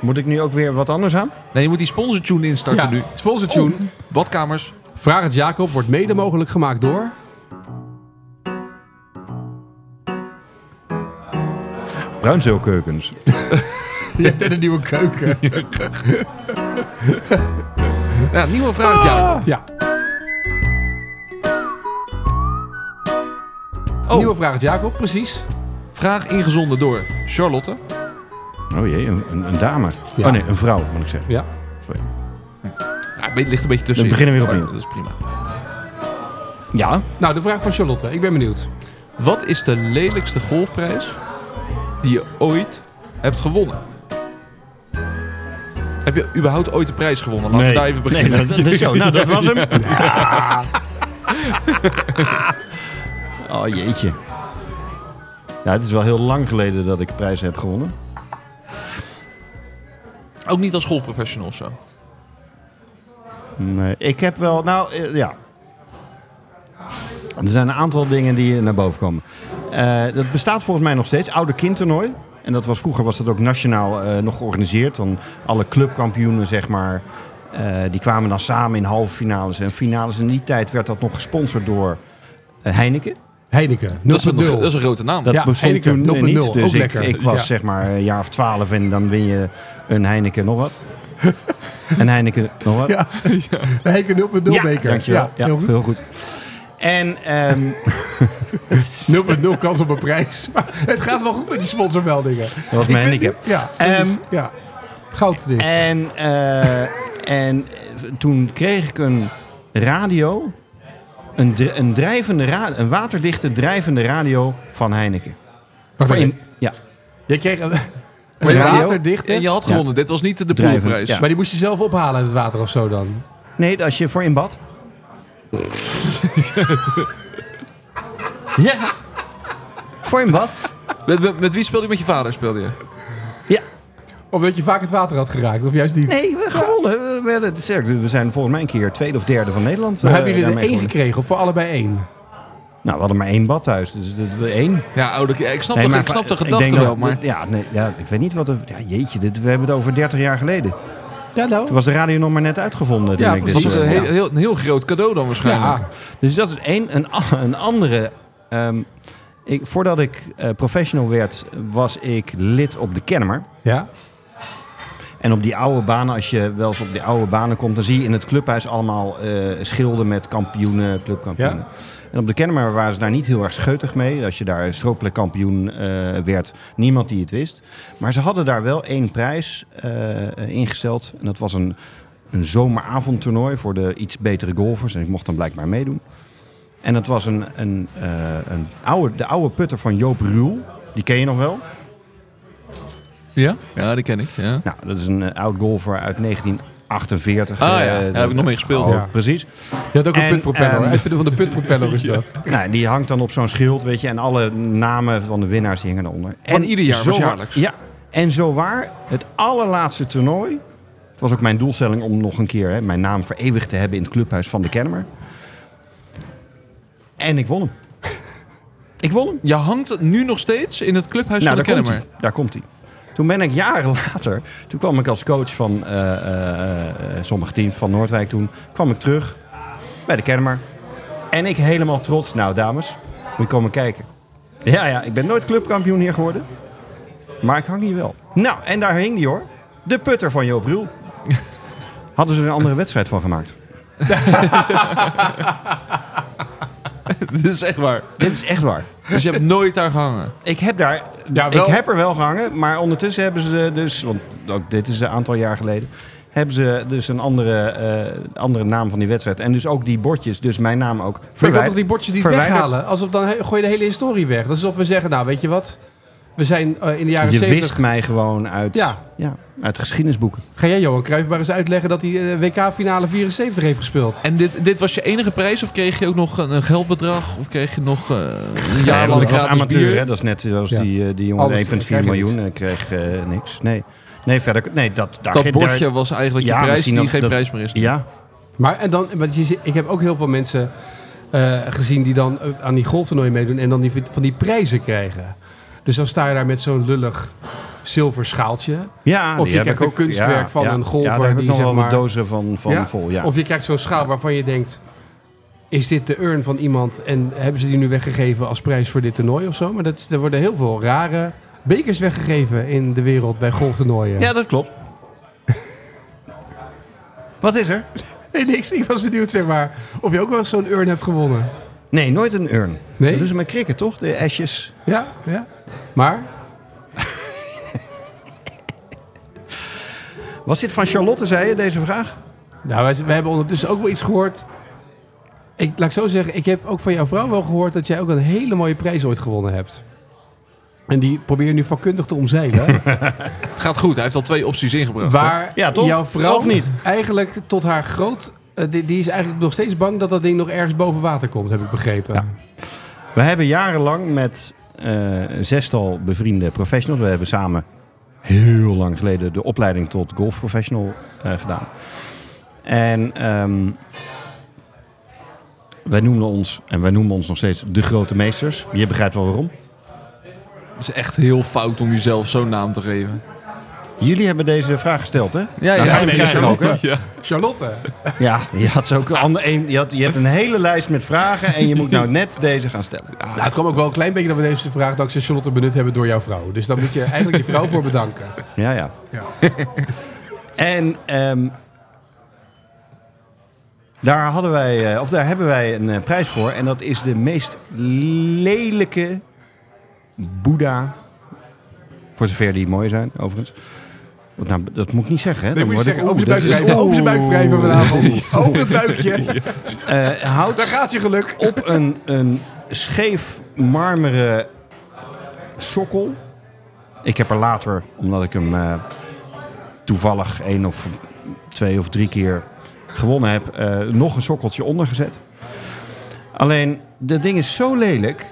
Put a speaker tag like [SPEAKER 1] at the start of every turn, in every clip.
[SPEAKER 1] Moet ik nu ook weer wat anders aan?
[SPEAKER 2] Nee, je moet die sponsortune instarten
[SPEAKER 3] Ja,
[SPEAKER 2] nu.
[SPEAKER 3] sponsor tune.
[SPEAKER 2] Badkamers.
[SPEAKER 3] Oh. Vraag het Jacob wordt mede mogelijk gemaakt door...
[SPEAKER 1] Bruinzeelkeukens.
[SPEAKER 3] Je hebt net een nieuwe keuken.
[SPEAKER 2] Ja, nieuwe vraag,
[SPEAKER 1] Ah.
[SPEAKER 2] Jacob.
[SPEAKER 3] Ja.
[SPEAKER 2] Oh.
[SPEAKER 3] Nieuwe vraag het Jacob, precies.
[SPEAKER 2] Vraag ingezonden door Charlotte.
[SPEAKER 1] Oh jee, een, een, een dame.
[SPEAKER 3] Ja.
[SPEAKER 1] Oh nee, een vrouw moet ik zeggen.
[SPEAKER 3] Ja.
[SPEAKER 2] Ja, het ligt een beetje tussen.
[SPEAKER 1] We beginnen weer opnieuw.
[SPEAKER 2] Dat is prima.
[SPEAKER 1] Ja.
[SPEAKER 3] Nou, de vraag van Charlotte. Ik ben benieuwd.
[SPEAKER 2] Wat is de lelijkste golfprijs die je ooit hebt gewonnen? Heb je überhaupt ooit een prijs gewonnen? Laten we daar even beginnen.
[SPEAKER 1] Nee, dat, dat is zo. Nou, dat was hem. Oh jeetje. Ja, het is wel heel lang geleden dat ik prijzen heb gewonnen.
[SPEAKER 2] Ook niet als golfprofessional of zo.
[SPEAKER 1] Nee, ik heb wel, nou eh, ja. Er zijn een aantal dingen die eh, naar boven komen. Eh, dat bestaat volgens mij nog steeds. Oude kindtoernooi. En dat was, vroeger was dat ook nationaal eh, nog georganiseerd. Dan alle clubkampioenen, zeg maar. eh, die kwamen dan samen in halve finales en finales. In die tijd werd dat nog gesponsord door eh, Heineken.
[SPEAKER 3] Heineken, 0.0.
[SPEAKER 2] Dat is, een, dat is een grote naam.
[SPEAKER 1] Dat
[SPEAKER 3] Ja,
[SPEAKER 1] bestond
[SPEAKER 3] Heineken,
[SPEAKER 1] toen eh,
[SPEAKER 3] 0.0,
[SPEAKER 1] niet. Dus
[SPEAKER 3] ook
[SPEAKER 1] ik,
[SPEAKER 3] lekker.
[SPEAKER 1] ik was
[SPEAKER 3] Ja.
[SPEAKER 1] zeg maar een jaar of twaalf en dan win je een Heineken nog wat. en Heineken nog wat.
[SPEAKER 3] Ja, Heineken 0.0
[SPEAKER 1] Ja,
[SPEAKER 3] beker.
[SPEAKER 1] Dankjewel. Ja,
[SPEAKER 3] heel goed.
[SPEAKER 1] heel goed. En ehm,
[SPEAKER 3] 0.0 kans op een prijs. Maar het gaat wel goed met die sponsormeldingen.
[SPEAKER 1] dat was mijn handicap.
[SPEAKER 3] Ja,
[SPEAKER 1] Ehm,
[SPEAKER 3] precies. ja. goud dit.
[SPEAKER 1] En, eh, en toen kreeg ik een radio. Een, dr- een, drijvende ra- een waterdichte drijvende radio van Heineken.
[SPEAKER 3] Wacht
[SPEAKER 1] Voor
[SPEAKER 3] even.
[SPEAKER 1] in- ja,
[SPEAKER 3] Je kreeg een,
[SPEAKER 2] Maar
[SPEAKER 3] een
[SPEAKER 2] ja,
[SPEAKER 3] waterdichte.
[SPEAKER 2] En je had gewonnen. Dit was niet de
[SPEAKER 1] Drijvend,
[SPEAKER 2] poolprijs.
[SPEAKER 1] ja.
[SPEAKER 3] Maar die moest je zelf ophalen uit het water of zo dan.
[SPEAKER 1] nee, als je voor in bad. ja, voor in bad.
[SPEAKER 2] Met, met- met wie speelde je? Met je vader speelde je?
[SPEAKER 3] Omdat je vaak het water had geraakt, of juist niet.
[SPEAKER 1] Nee, we gewonnen. We, werden- het is erg, we zijn volgens mij een keer tweede of derde van Nederland.
[SPEAKER 3] Maar
[SPEAKER 1] eh,
[SPEAKER 3] hebben jullie er
[SPEAKER 1] daarmee
[SPEAKER 3] één
[SPEAKER 1] gewonnen.
[SPEAKER 3] gekregen, of voor allebei één?
[SPEAKER 1] Nou, we hadden maar één bad thuis, dus dat we één.
[SPEAKER 2] Ja, oude, ja, ik snap,
[SPEAKER 1] Nee,
[SPEAKER 2] de,
[SPEAKER 1] maar
[SPEAKER 2] ik snap de
[SPEAKER 1] ik denk
[SPEAKER 2] gedachte
[SPEAKER 1] dat-
[SPEAKER 2] wel, maar...
[SPEAKER 1] Ja, nee, ja, ik weet niet wat... er- Ja, jeetje, dit, we hebben het over 30 jaar geleden.
[SPEAKER 3] Ja, nou.
[SPEAKER 1] Toen was de radio nog maar net uitgevonden.
[SPEAKER 3] Ja,
[SPEAKER 1] toen ik dit
[SPEAKER 2] Dat was
[SPEAKER 3] precies.
[SPEAKER 2] een
[SPEAKER 1] hoorde.
[SPEAKER 2] heel, heel, een heel groot cadeau dan waarschijnlijk.
[SPEAKER 3] Ja,
[SPEAKER 1] Dus dat is één. Een, a- een andere... ehm, ik, voordat ik eh, professional werd, was ik lid op de Kennemer.
[SPEAKER 3] ja.
[SPEAKER 1] En op die oude banen, als je wel eens op die oude banen komt... dan zie je in het clubhuis allemaal eh, schilden met kampioenen, clubkampioenen.
[SPEAKER 3] Ja.
[SPEAKER 1] En op de Kennemer waren ze daar niet heel erg scheutig mee. Als je daar stroopelijk kampioen eh, werd, niemand die het wist. Maar ze hadden daar wel één prijs eh, eh, ingesteld. En dat was een, een zomeravondtoernooi voor de iets betere golfers. En ik mocht dan blijkbaar meedoen. En dat was een, een, eh, een oude, de oude putter van Joop Ruul. Die ken je nog wel?
[SPEAKER 2] Ja? Ja, die ken ik. Ja.
[SPEAKER 1] Nou, dat is een eh, oud golfer uit 1948.
[SPEAKER 2] Ah, ja.
[SPEAKER 1] eh,
[SPEAKER 2] Daar heb
[SPEAKER 1] dat-
[SPEAKER 2] ik nog mee gespeeld.
[SPEAKER 1] Oh,
[SPEAKER 3] Ja.
[SPEAKER 1] Precies.
[SPEAKER 3] Je had ook een
[SPEAKER 1] En,
[SPEAKER 3] putpropeller.
[SPEAKER 1] ehm,
[SPEAKER 3] Uitvinden van de putpropeller is dat.
[SPEAKER 1] Nou, die hangt dan op zo'n schild, weet je. En alle namen van de winnaars die hingen eronder.
[SPEAKER 2] Van
[SPEAKER 1] en
[SPEAKER 2] ieder jaar was
[SPEAKER 1] waar-
[SPEAKER 2] jaarlijks.
[SPEAKER 1] Ja. En zo waar, het allerlaatste toernooi. Het was ook mijn doelstelling om nog een keer hè, mijn naam vereeuwigd te hebben in het clubhuis van de Kennemer. En ik won hem. ik won hem.
[SPEAKER 2] Je hangt nu nog steeds in het clubhuis
[SPEAKER 1] nou,
[SPEAKER 2] van de
[SPEAKER 1] daar komt
[SPEAKER 2] Kennemer.
[SPEAKER 1] hij. Daar komt hij. Toen ben ik jaren later, toen kwam ik als coach van eh, eh, eh, sommige teams van Noordwijk toen, kwam ik terug bij de Kennemer. En ik helemaal trots, nou dames, moet je komen kijken. Ja, ja, ik ben nooit clubkampioen hier geworden, maar ik hang hier wel. Nou, en daar hing die hoor, de putter van Joop Ruul. Hadden ze er een andere wedstrijd van gemaakt.
[SPEAKER 2] Dit is echt waar.
[SPEAKER 1] Dit is echt waar.
[SPEAKER 2] Dus je hebt nooit daar gehangen.
[SPEAKER 1] Ik heb daar,
[SPEAKER 3] Ja, Nou, wel.
[SPEAKER 1] ik heb er wel gehangen, maar ondertussen hebben ze dus, want ook dit is een aantal jaar geleden, hebben ze dus een andere, eh, andere naam van die wedstrijd. En dus ook die bordjes, dus mijn naam ook.
[SPEAKER 3] Maar je kan
[SPEAKER 1] verwijder-
[SPEAKER 3] toch die bordjes niet
[SPEAKER 1] verwijderd.
[SPEAKER 3] weghalen? Alsof dan he- gooi je de hele historie weg. Dat is alsof we zeggen, nou weet je wat? We zijn eh, in de jaren
[SPEAKER 1] Je
[SPEAKER 3] 70.
[SPEAKER 1] wist mij gewoon uit,
[SPEAKER 3] Ja.
[SPEAKER 1] ja. uit geschiedenisboeken.
[SPEAKER 3] Ga jij Johan Cruijff maar eens uitleggen dat hij eh, WK-finale 74 heeft gespeeld?
[SPEAKER 2] En dit, dit was je enige prijs? Of kreeg je ook nog een, een geldbedrag? Of kreeg je nog eh, een
[SPEAKER 1] Ja,
[SPEAKER 2] jaar
[SPEAKER 1] want
[SPEAKER 2] lang
[SPEAKER 1] ik was
[SPEAKER 2] gratis
[SPEAKER 1] amateur,
[SPEAKER 2] bier?
[SPEAKER 1] hè? dat is net zoals
[SPEAKER 3] Ja.
[SPEAKER 1] die, eh, die
[SPEAKER 3] Alles,
[SPEAKER 1] jongen, 1,4
[SPEAKER 3] krijg je
[SPEAKER 1] miljoen, en ik kreeg eh, niks. Nee. nee, verder, nee, dat, daar,
[SPEAKER 2] Dat
[SPEAKER 1] daar-
[SPEAKER 2] bordje was eigenlijk
[SPEAKER 1] Ja,
[SPEAKER 2] je prijs
[SPEAKER 1] misschien
[SPEAKER 2] die
[SPEAKER 1] nog
[SPEAKER 2] geen
[SPEAKER 1] dat-
[SPEAKER 2] prijs meer is.
[SPEAKER 1] Ja,
[SPEAKER 3] Maar en dan, want je, ziet- ik heb ook heel veel mensen eh, gezien die dan eh, aan die golftoernooien meedoen en dan die, van die prijzen krijgen. Dus dan sta je daar met zo'n lullig zilver schaaltje.
[SPEAKER 1] Ja,
[SPEAKER 3] Of
[SPEAKER 1] die
[SPEAKER 3] je
[SPEAKER 1] heb
[SPEAKER 3] krijgt
[SPEAKER 1] ik
[SPEAKER 3] een kunstwerk van een golfer
[SPEAKER 1] Ja, daar heb ik
[SPEAKER 3] die,
[SPEAKER 1] nog
[SPEAKER 3] zeg
[SPEAKER 1] wel wat
[SPEAKER 3] maar-
[SPEAKER 1] dozen van, van vol. Ja.
[SPEAKER 3] Of je krijgt zo'n schaal waarvan je denkt... Is dit de urn van iemand en hebben ze die nu weggegeven als prijs voor dit toernooi of zo? Maar dat, is- er worden heel veel rare bekers weggegeven in de wereld bij golftoernooien.
[SPEAKER 1] ja, dat klopt. wat is er?
[SPEAKER 3] Nee, niks. Ik was benieuwd, zeg maar, of je ook wel eens zo'n urn hebt gewonnen.
[SPEAKER 1] Nee, nooit een urn.
[SPEAKER 3] Nee?
[SPEAKER 1] Dat doen ze met krikken, toch? De asjes.
[SPEAKER 3] Ja, ja. Maar?
[SPEAKER 1] Was dit van Charlotte, zei je, deze vraag?
[SPEAKER 3] Nou, wij, wij hebben ondertussen ook wel iets gehoord. Ik, laat ik zo zeggen, ik heb ook van jouw vrouw wel gehoord dat jij ook een hele mooie prijs ooit gewonnen hebt. En die probeer je nu vakkundig te omzeilen.
[SPEAKER 2] Het gaat goed. Hij heeft al twee opties ingebracht. hè?
[SPEAKER 3] waar
[SPEAKER 1] Ja, toch?
[SPEAKER 3] jouw vrouw
[SPEAKER 1] Of niet?
[SPEAKER 3] eigenlijk tot haar groot... eh, die, die is eigenlijk nog steeds bang dat dat ding nog ergens boven water komt, heb ik begrepen.
[SPEAKER 1] Ja. We hebben jarenlang met eh, een zestal bevriende professionals. We hebben samen heel lang geleden de opleiding tot golfprofessional eh, gedaan. En ehm, wij noemden ons, en wij noemen ons nog steeds, de grote meesters. Je begrijpt wel waarom.
[SPEAKER 2] Het is echt heel fout om jezelf zo'n naam te geven. Nou,
[SPEAKER 1] Jullie hebben deze vraag gesteld, hè?
[SPEAKER 2] Ja,
[SPEAKER 1] ja,
[SPEAKER 2] nee,
[SPEAKER 1] ja,
[SPEAKER 2] ja,
[SPEAKER 1] ook, hè?
[SPEAKER 2] ja.
[SPEAKER 3] Charlotte,
[SPEAKER 1] Ja, je, had ze ook een ander, een, je, had, je hebt een hele lijst met vragen en je moet nou net deze gaan stellen.
[SPEAKER 3] nou, het kwam ook wel een klein beetje dat we deze vraag dankzij Charlotte benut hebben door jouw vrouw. Dus daar moet je eigenlijk je vrouw voor bedanken.
[SPEAKER 1] Ja, ja.
[SPEAKER 3] Ja.
[SPEAKER 1] En ehm, daar, hadden wij, eh, of daar hebben wij een eh, prijs voor. En dat is de meest lelijke Boeddha. Voor zover die mooi zijn, overigens. Want nou, dat moet ik niet zeggen, hè?
[SPEAKER 3] Nee,
[SPEAKER 1] Dan
[SPEAKER 3] moet je
[SPEAKER 1] word ik-
[SPEAKER 3] zeggen, over zijn
[SPEAKER 1] oeh,
[SPEAKER 3] buik
[SPEAKER 1] dat is-
[SPEAKER 3] wrijven, over zijn buik wrijven
[SPEAKER 1] oeh.
[SPEAKER 3] vanavond. Over het buikje.
[SPEAKER 1] Eh, hout
[SPEAKER 3] Daar gaat je geluk.
[SPEAKER 1] op een, een scheef marmeren sokkel. Ik heb er later, omdat ik hem eh, toevallig één of twee of drie keer gewonnen heb, eh, nog een sokkeltje onder gezet. Alleen, dat ding is zo lelijk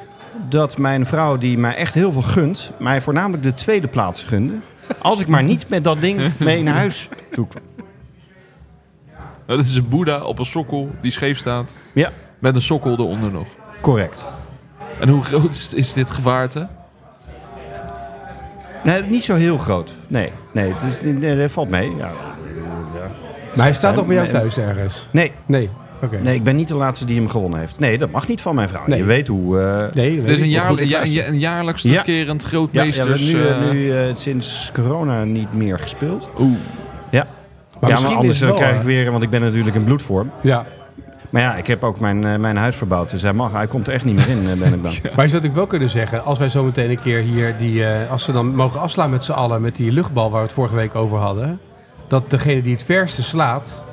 [SPEAKER 1] dat mijn vrouw, die mij echt heel veel gunt, mij voornamelijk de tweede plaats gunde. Als ik maar niet met dat ding mee naar huis toe kwam.
[SPEAKER 2] Nou, dat is een boeddha op een sokkel die scheef staat.
[SPEAKER 1] Ja,
[SPEAKER 2] Met een sokkel eronder nog.
[SPEAKER 1] correct.
[SPEAKER 2] En hoe groot is, is dit gevaarte?
[SPEAKER 1] Nee, niet zo heel groot. Nee, nee, het is, nee dat valt mee. Ja,
[SPEAKER 3] Maar hij staat nog bij jou thuis ergens.
[SPEAKER 1] Nee,
[SPEAKER 3] Nee, oké.
[SPEAKER 1] nee, ik ben niet de laatste die hem gewonnen heeft. Nee, dat mag niet van mijn vrouw.
[SPEAKER 3] Nee.
[SPEAKER 1] Je weet hoe... eh,
[SPEAKER 3] Nee, dat
[SPEAKER 2] Dit is
[SPEAKER 3] weet
[SPEAKER 2] Dus een,
[SPEAKER 3] ik.
[SPEAKER 2] jaar,
[SPEAKER 1] goed, ik
[SPEAKER 2] ja, een,
[SPEAKER 1] luister.
[SPEAKER 2] ja- een jaarlijks
[SPEAKER 1] Ja.
[SPEAKER 2] terugkerend
[SPEAKER 1] Ja, ja, we
[SPEAKER 2] grootmeesters...
[SPEAKER 1] hebben nu, eh,
[SPEAKER 2] eh,
[SPEAKER 1] nu eh, sinds corona niet meer gespeeld.
[SPEAKER 2] Oeh,
[SPEAKER 3] Maar
[SPEAKER 1] ja, maar
[SPEAKER 3] misschien
[SPEAKER 1] anders
[SPEAKER 3] is het
[SPEAKER 1] dan
[SPEAKER 3] wel,
[SPEAKER 1] krijg ik
[SPEAKER 3] eh,
[SPEAKER 1] weer... Want ik ben natuurlijk in bloedvorm.
[SPEAKER 3] Ja,
[SPEAKER 1] Maar ja, ik heb ook mijn, eh, mijn huis verbouwd. Dus hij, mag, hij komt er echt niet meer in, eh, ben ik dan.
[SPEAKER 3] maar je zou natuurlijk wel kunnen zeggen, als wij zo meteen een keer hier, die, eh, als ze dan mogen afslaan met z'n allen, met die luchtbal waar we het vorige week over hadden, dat degene die het verste slaat,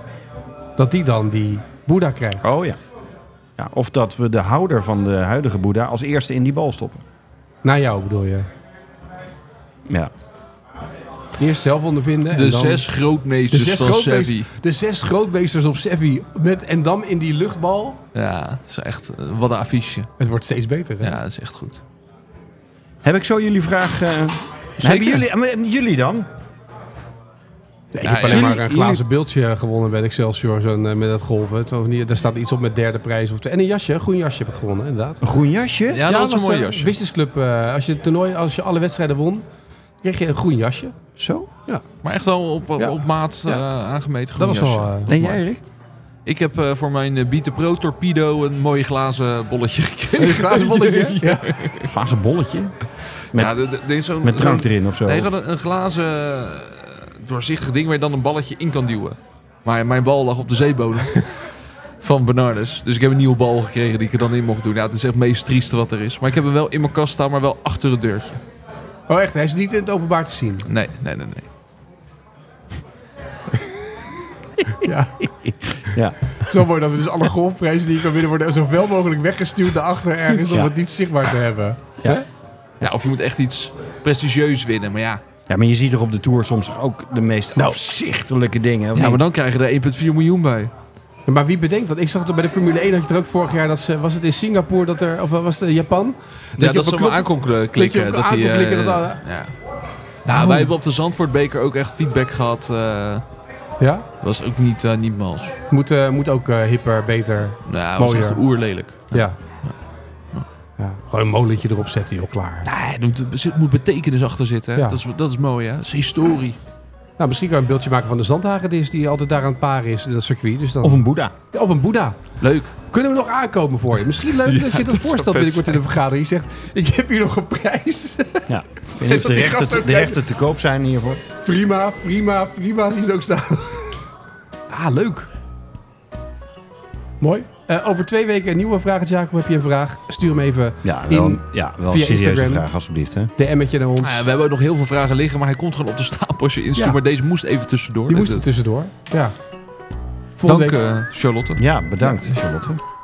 [SPEAKER 3] dat die dan die Boeddha krijgt.
[SPEAKER 1] Oh ja. ja. Of dat we de houder van de huidige Boeddha als eerste in die bal stoppen.
[SPEAKER 3] Naar jou bedoel je.
[SPEAKER 1] Ja.
[SPEAKER 3] Eerst zelf ondervinden. en
[SPEAKER 2] de
[SPEAKER 3] dan...
[SPEAKER 2] zes
[SPEAKER 3] de
[SPEAKER 2] grootmeesters
[SPEAKER 3] zes,
[SPEAKER 2] van
[SPEAKER 3] grootmeesters-
[SPEAKER 2] Sevi.
[SPEAKER 3] de zes grootmeesters op Sevi. Met en dan in die luchtbal.
[SPEAKER 2] Ja, het is echt... eh, wat een affiche.
[SPEAKER 3] Het wordt steeds beter. Hè?
[SPEAKER 2] Ja, dat is echt goed.
[SPEAKER 1] Heb ik zo jullie vraag... eh, hebben jullie, en jullie dan?
[SPEAKER 3] Nee, ik
[SPEAKER 2] Ja,
[SPEAKER 3] heb alleen
[SPEAKER 2] ja.
[SPEAKER 3] maar een
[SPEAKER 1] Jullie-
[SPEAKER 3] glazen beeldje gewonnen bij Excelsior zo'n, eh, met dat golven. Het was niet- Daar staat iets op met derde prijs. Of en een jasje, een groen jasje heb ik gewonnen, inderdaad.
[SPEAKER 1] Een groen jasje?
[SPEAKER 2] Ja, dat is een mooi
[SPEAKER 3] eh,
[SPEAKER 2] jasje.
[SPEAKER 3] Business Club, eh, als je het toernooi, als je alle wedstrijden won, kreeg je een groen jasje.
[SPEAKER 1] Zo?
[SPEAKER 2] Maar echt wel op, op,
[SPEAKER 3] Ja.
[SPEAKER 2] op maat
[SPEAKER 3] Ja.
[SPEAKER 2] eh, aangemeten groen
[SPEAKER 3] dat was
[SPEAKER 2] jasje.
[SPEAKER 3] wel... eh,
[SPEAKER 1] Nee,
[SPEAKER 3] mooi.
[SPEAKER 1] jij, Erik?
[SPEAKER 2] Ik heb eh, voor mijn eh, Beat the Pro Torpedo een mooi glazen bolletje gekregen.
[SPEAKER 3] Een glazen bolletje. ja.
[SPEAKER 1] Glazen bolletje. Met-
[SPEAKER 2] ja, de- de- de- zo'n-
[SPEAKER 1] Met drank
[SPEAKER 2] zo'n-
[SPEAKER 1] erin of zo.
[SPEAKER 2] Nee, gewoon een, een glazen eh, doorzichtig ding waar je dan een balletje in kan duwen. Maar mijn bal lag op de zeebodem van Bernardus. Dus ik heb een nieuwe bal gekregen die ik er dan in mocht doen. Ja, het is echt het meest trieste wat er is. Maar ik heb hem wel in mijn kast staan, maar wel achter het deurtje.
[SPEAKER 3] Oh echt, hij is niet in het openbaar te zien.
[SPEAKER 2] Nee, nee, nee, nee.
[SPEAKER 3] Ja.
[SPEAKER 1] Ja.
[SPEAKER 3] Zo mooi dat we dus alle golfprijzen die je kan winnen worden zoveel mogelijk weggestuurd naar achter ergens
[SPEAKER 1] Ja.
[SPEAKER 3] om het niet zichtbaar te hebben.
[SPEAKER 1] Ja.
[SPEAKER 3] Hè?
[SPEAKER 2] Ja, of je moet echt iets prestigieus winnen. Maar ja,
[SPEAKER 1] Ja, maar je ziet er op de Tour soms ook de meest
[SPEAKER 2] Nou.
[SPEAKER 1] afzichtelijke dingen.
[SPEAKER 2] ja maar dan krijg je er 1,4 miljoen bij.
[SPEAKER 3] Maar wie bedenkt dat? Ik zag het bij de Formule 1 had je er ook vorig jaar dat ze was het in Singapore dat er of was het in Japan?
[SPEAKER 2] Ja, dat,
[SPEAKER 3] je
[SPEAKER 2] ze
[SPEAKER 3] op een
[SPEAKER 2] hem
[SPEAKER 3] knop-
[SPEAKER 2] aan kon kl-
[SPEAKER 3] dat je
[SPEAKER 2] klikken.
[SPEAKER 3] op aan
[SPEAKER 2] hij,
[SPEAKER 3] kon
[SPEAKER 2] eh,
[SPEAKER 3] klikken, dat alle-
[SPEAKER 2] ja. Nou, wij hebben op de Zandvoortbeker ook echt feedback gehad. eh,
[SPEAKER 3] Ja.
[SPEAKER 2] Dat was ook niet, eh, niet mals.
[SPEAKER 3] Moet, eh, moet ook eh, hipper, beter.
[SPEAKER 2] Nou, dat was
[SPEAKER 3] Mooier.
[SPEAKER 2] echt oerlelijk.
[SPEAKER 3] Ja. Ja, gewoon een molentje erop zetten, joh, klaar.
[SPEAKER 2] Nee, er moet, er moet betekenis achter zitten. hè.
[SPEAKER 3] Ja.
[SPEAKER 2] Dat, is, dat is mooi, hè? Dat is historie.
[SPEAKER 3] Nou, misschien kan je een beeldje maken van de zandhagedis die altijd daar aan het paren is, dat circuit. Dus dan...
[SPEAKER 1] Of een boeddha.
[SPEAKER 3] Ja, of een boeddha.
[SPEAKER 2] Leuk.
[SPEAKER 3] Kunnen we nog aankomen voor je? Misschien leuk dat je dat,
[SPEAKER 1] dat zou
[SPEAKER 3] voorstelt
[SPEAKER 1] vet
[SPEAKER 3] binnenkort in de vergadering. Je zegt, ik heb hier nog een prijs.
[SPEAKER 1] Ja. Ik weet niet of
[SPEAKER 3] Dat
[SPEAKER 1] de
[SPEAKER 3] die gast
[SPEAKER 1] rechten,
[SPEAKER 3] ook
[SPEAKER 1] de
[SPEAKER 3] leuk-
[SPEAKER 1] rechten te koop zijn hiervoor.
[SPEAKER 3] prima, prima, prima, zie ze ook staan. Ah, leuk. Mooi. Eh, over twee weken een nieuwe vraag. Jacob, heb je een vraag? Stuur hem even
[SPEAKER 1] Ja, wel,
[SPEAKER 3] In-
[SPEAKER 1] ja, wel een
[SPEAKER 3] via
[SPEAKER 1] serieuze
[SPEAKER 3] Instagram.
[SPEAKER 1] vraag alsjeblieft. Hè?
[SPEAKER 3] DM'tje naar ons.
[SPEAKER 2] Nou ja, we hebben ook nog heel veel vragen liggen, maar hij komt gewoon op de stapel als je instuurt.
[SPEAKER 3] Ja.
[SPEAKER 2] Maar deze moest even tussendoor.
[SPEAKER 3] Die
[SPEAKER 2] Dus
[SPEAKER 3] moest er
[SPEAKER 2] dat-
[SPEAKER 3] tussendoor. Ja. Volgende
[SPEAKER 2] Dank
[SPEAKER 3] week.
[SPEAKER 2] eh, Charlotte.
[SPEAKER 1] Ja, bedankt Charlotte.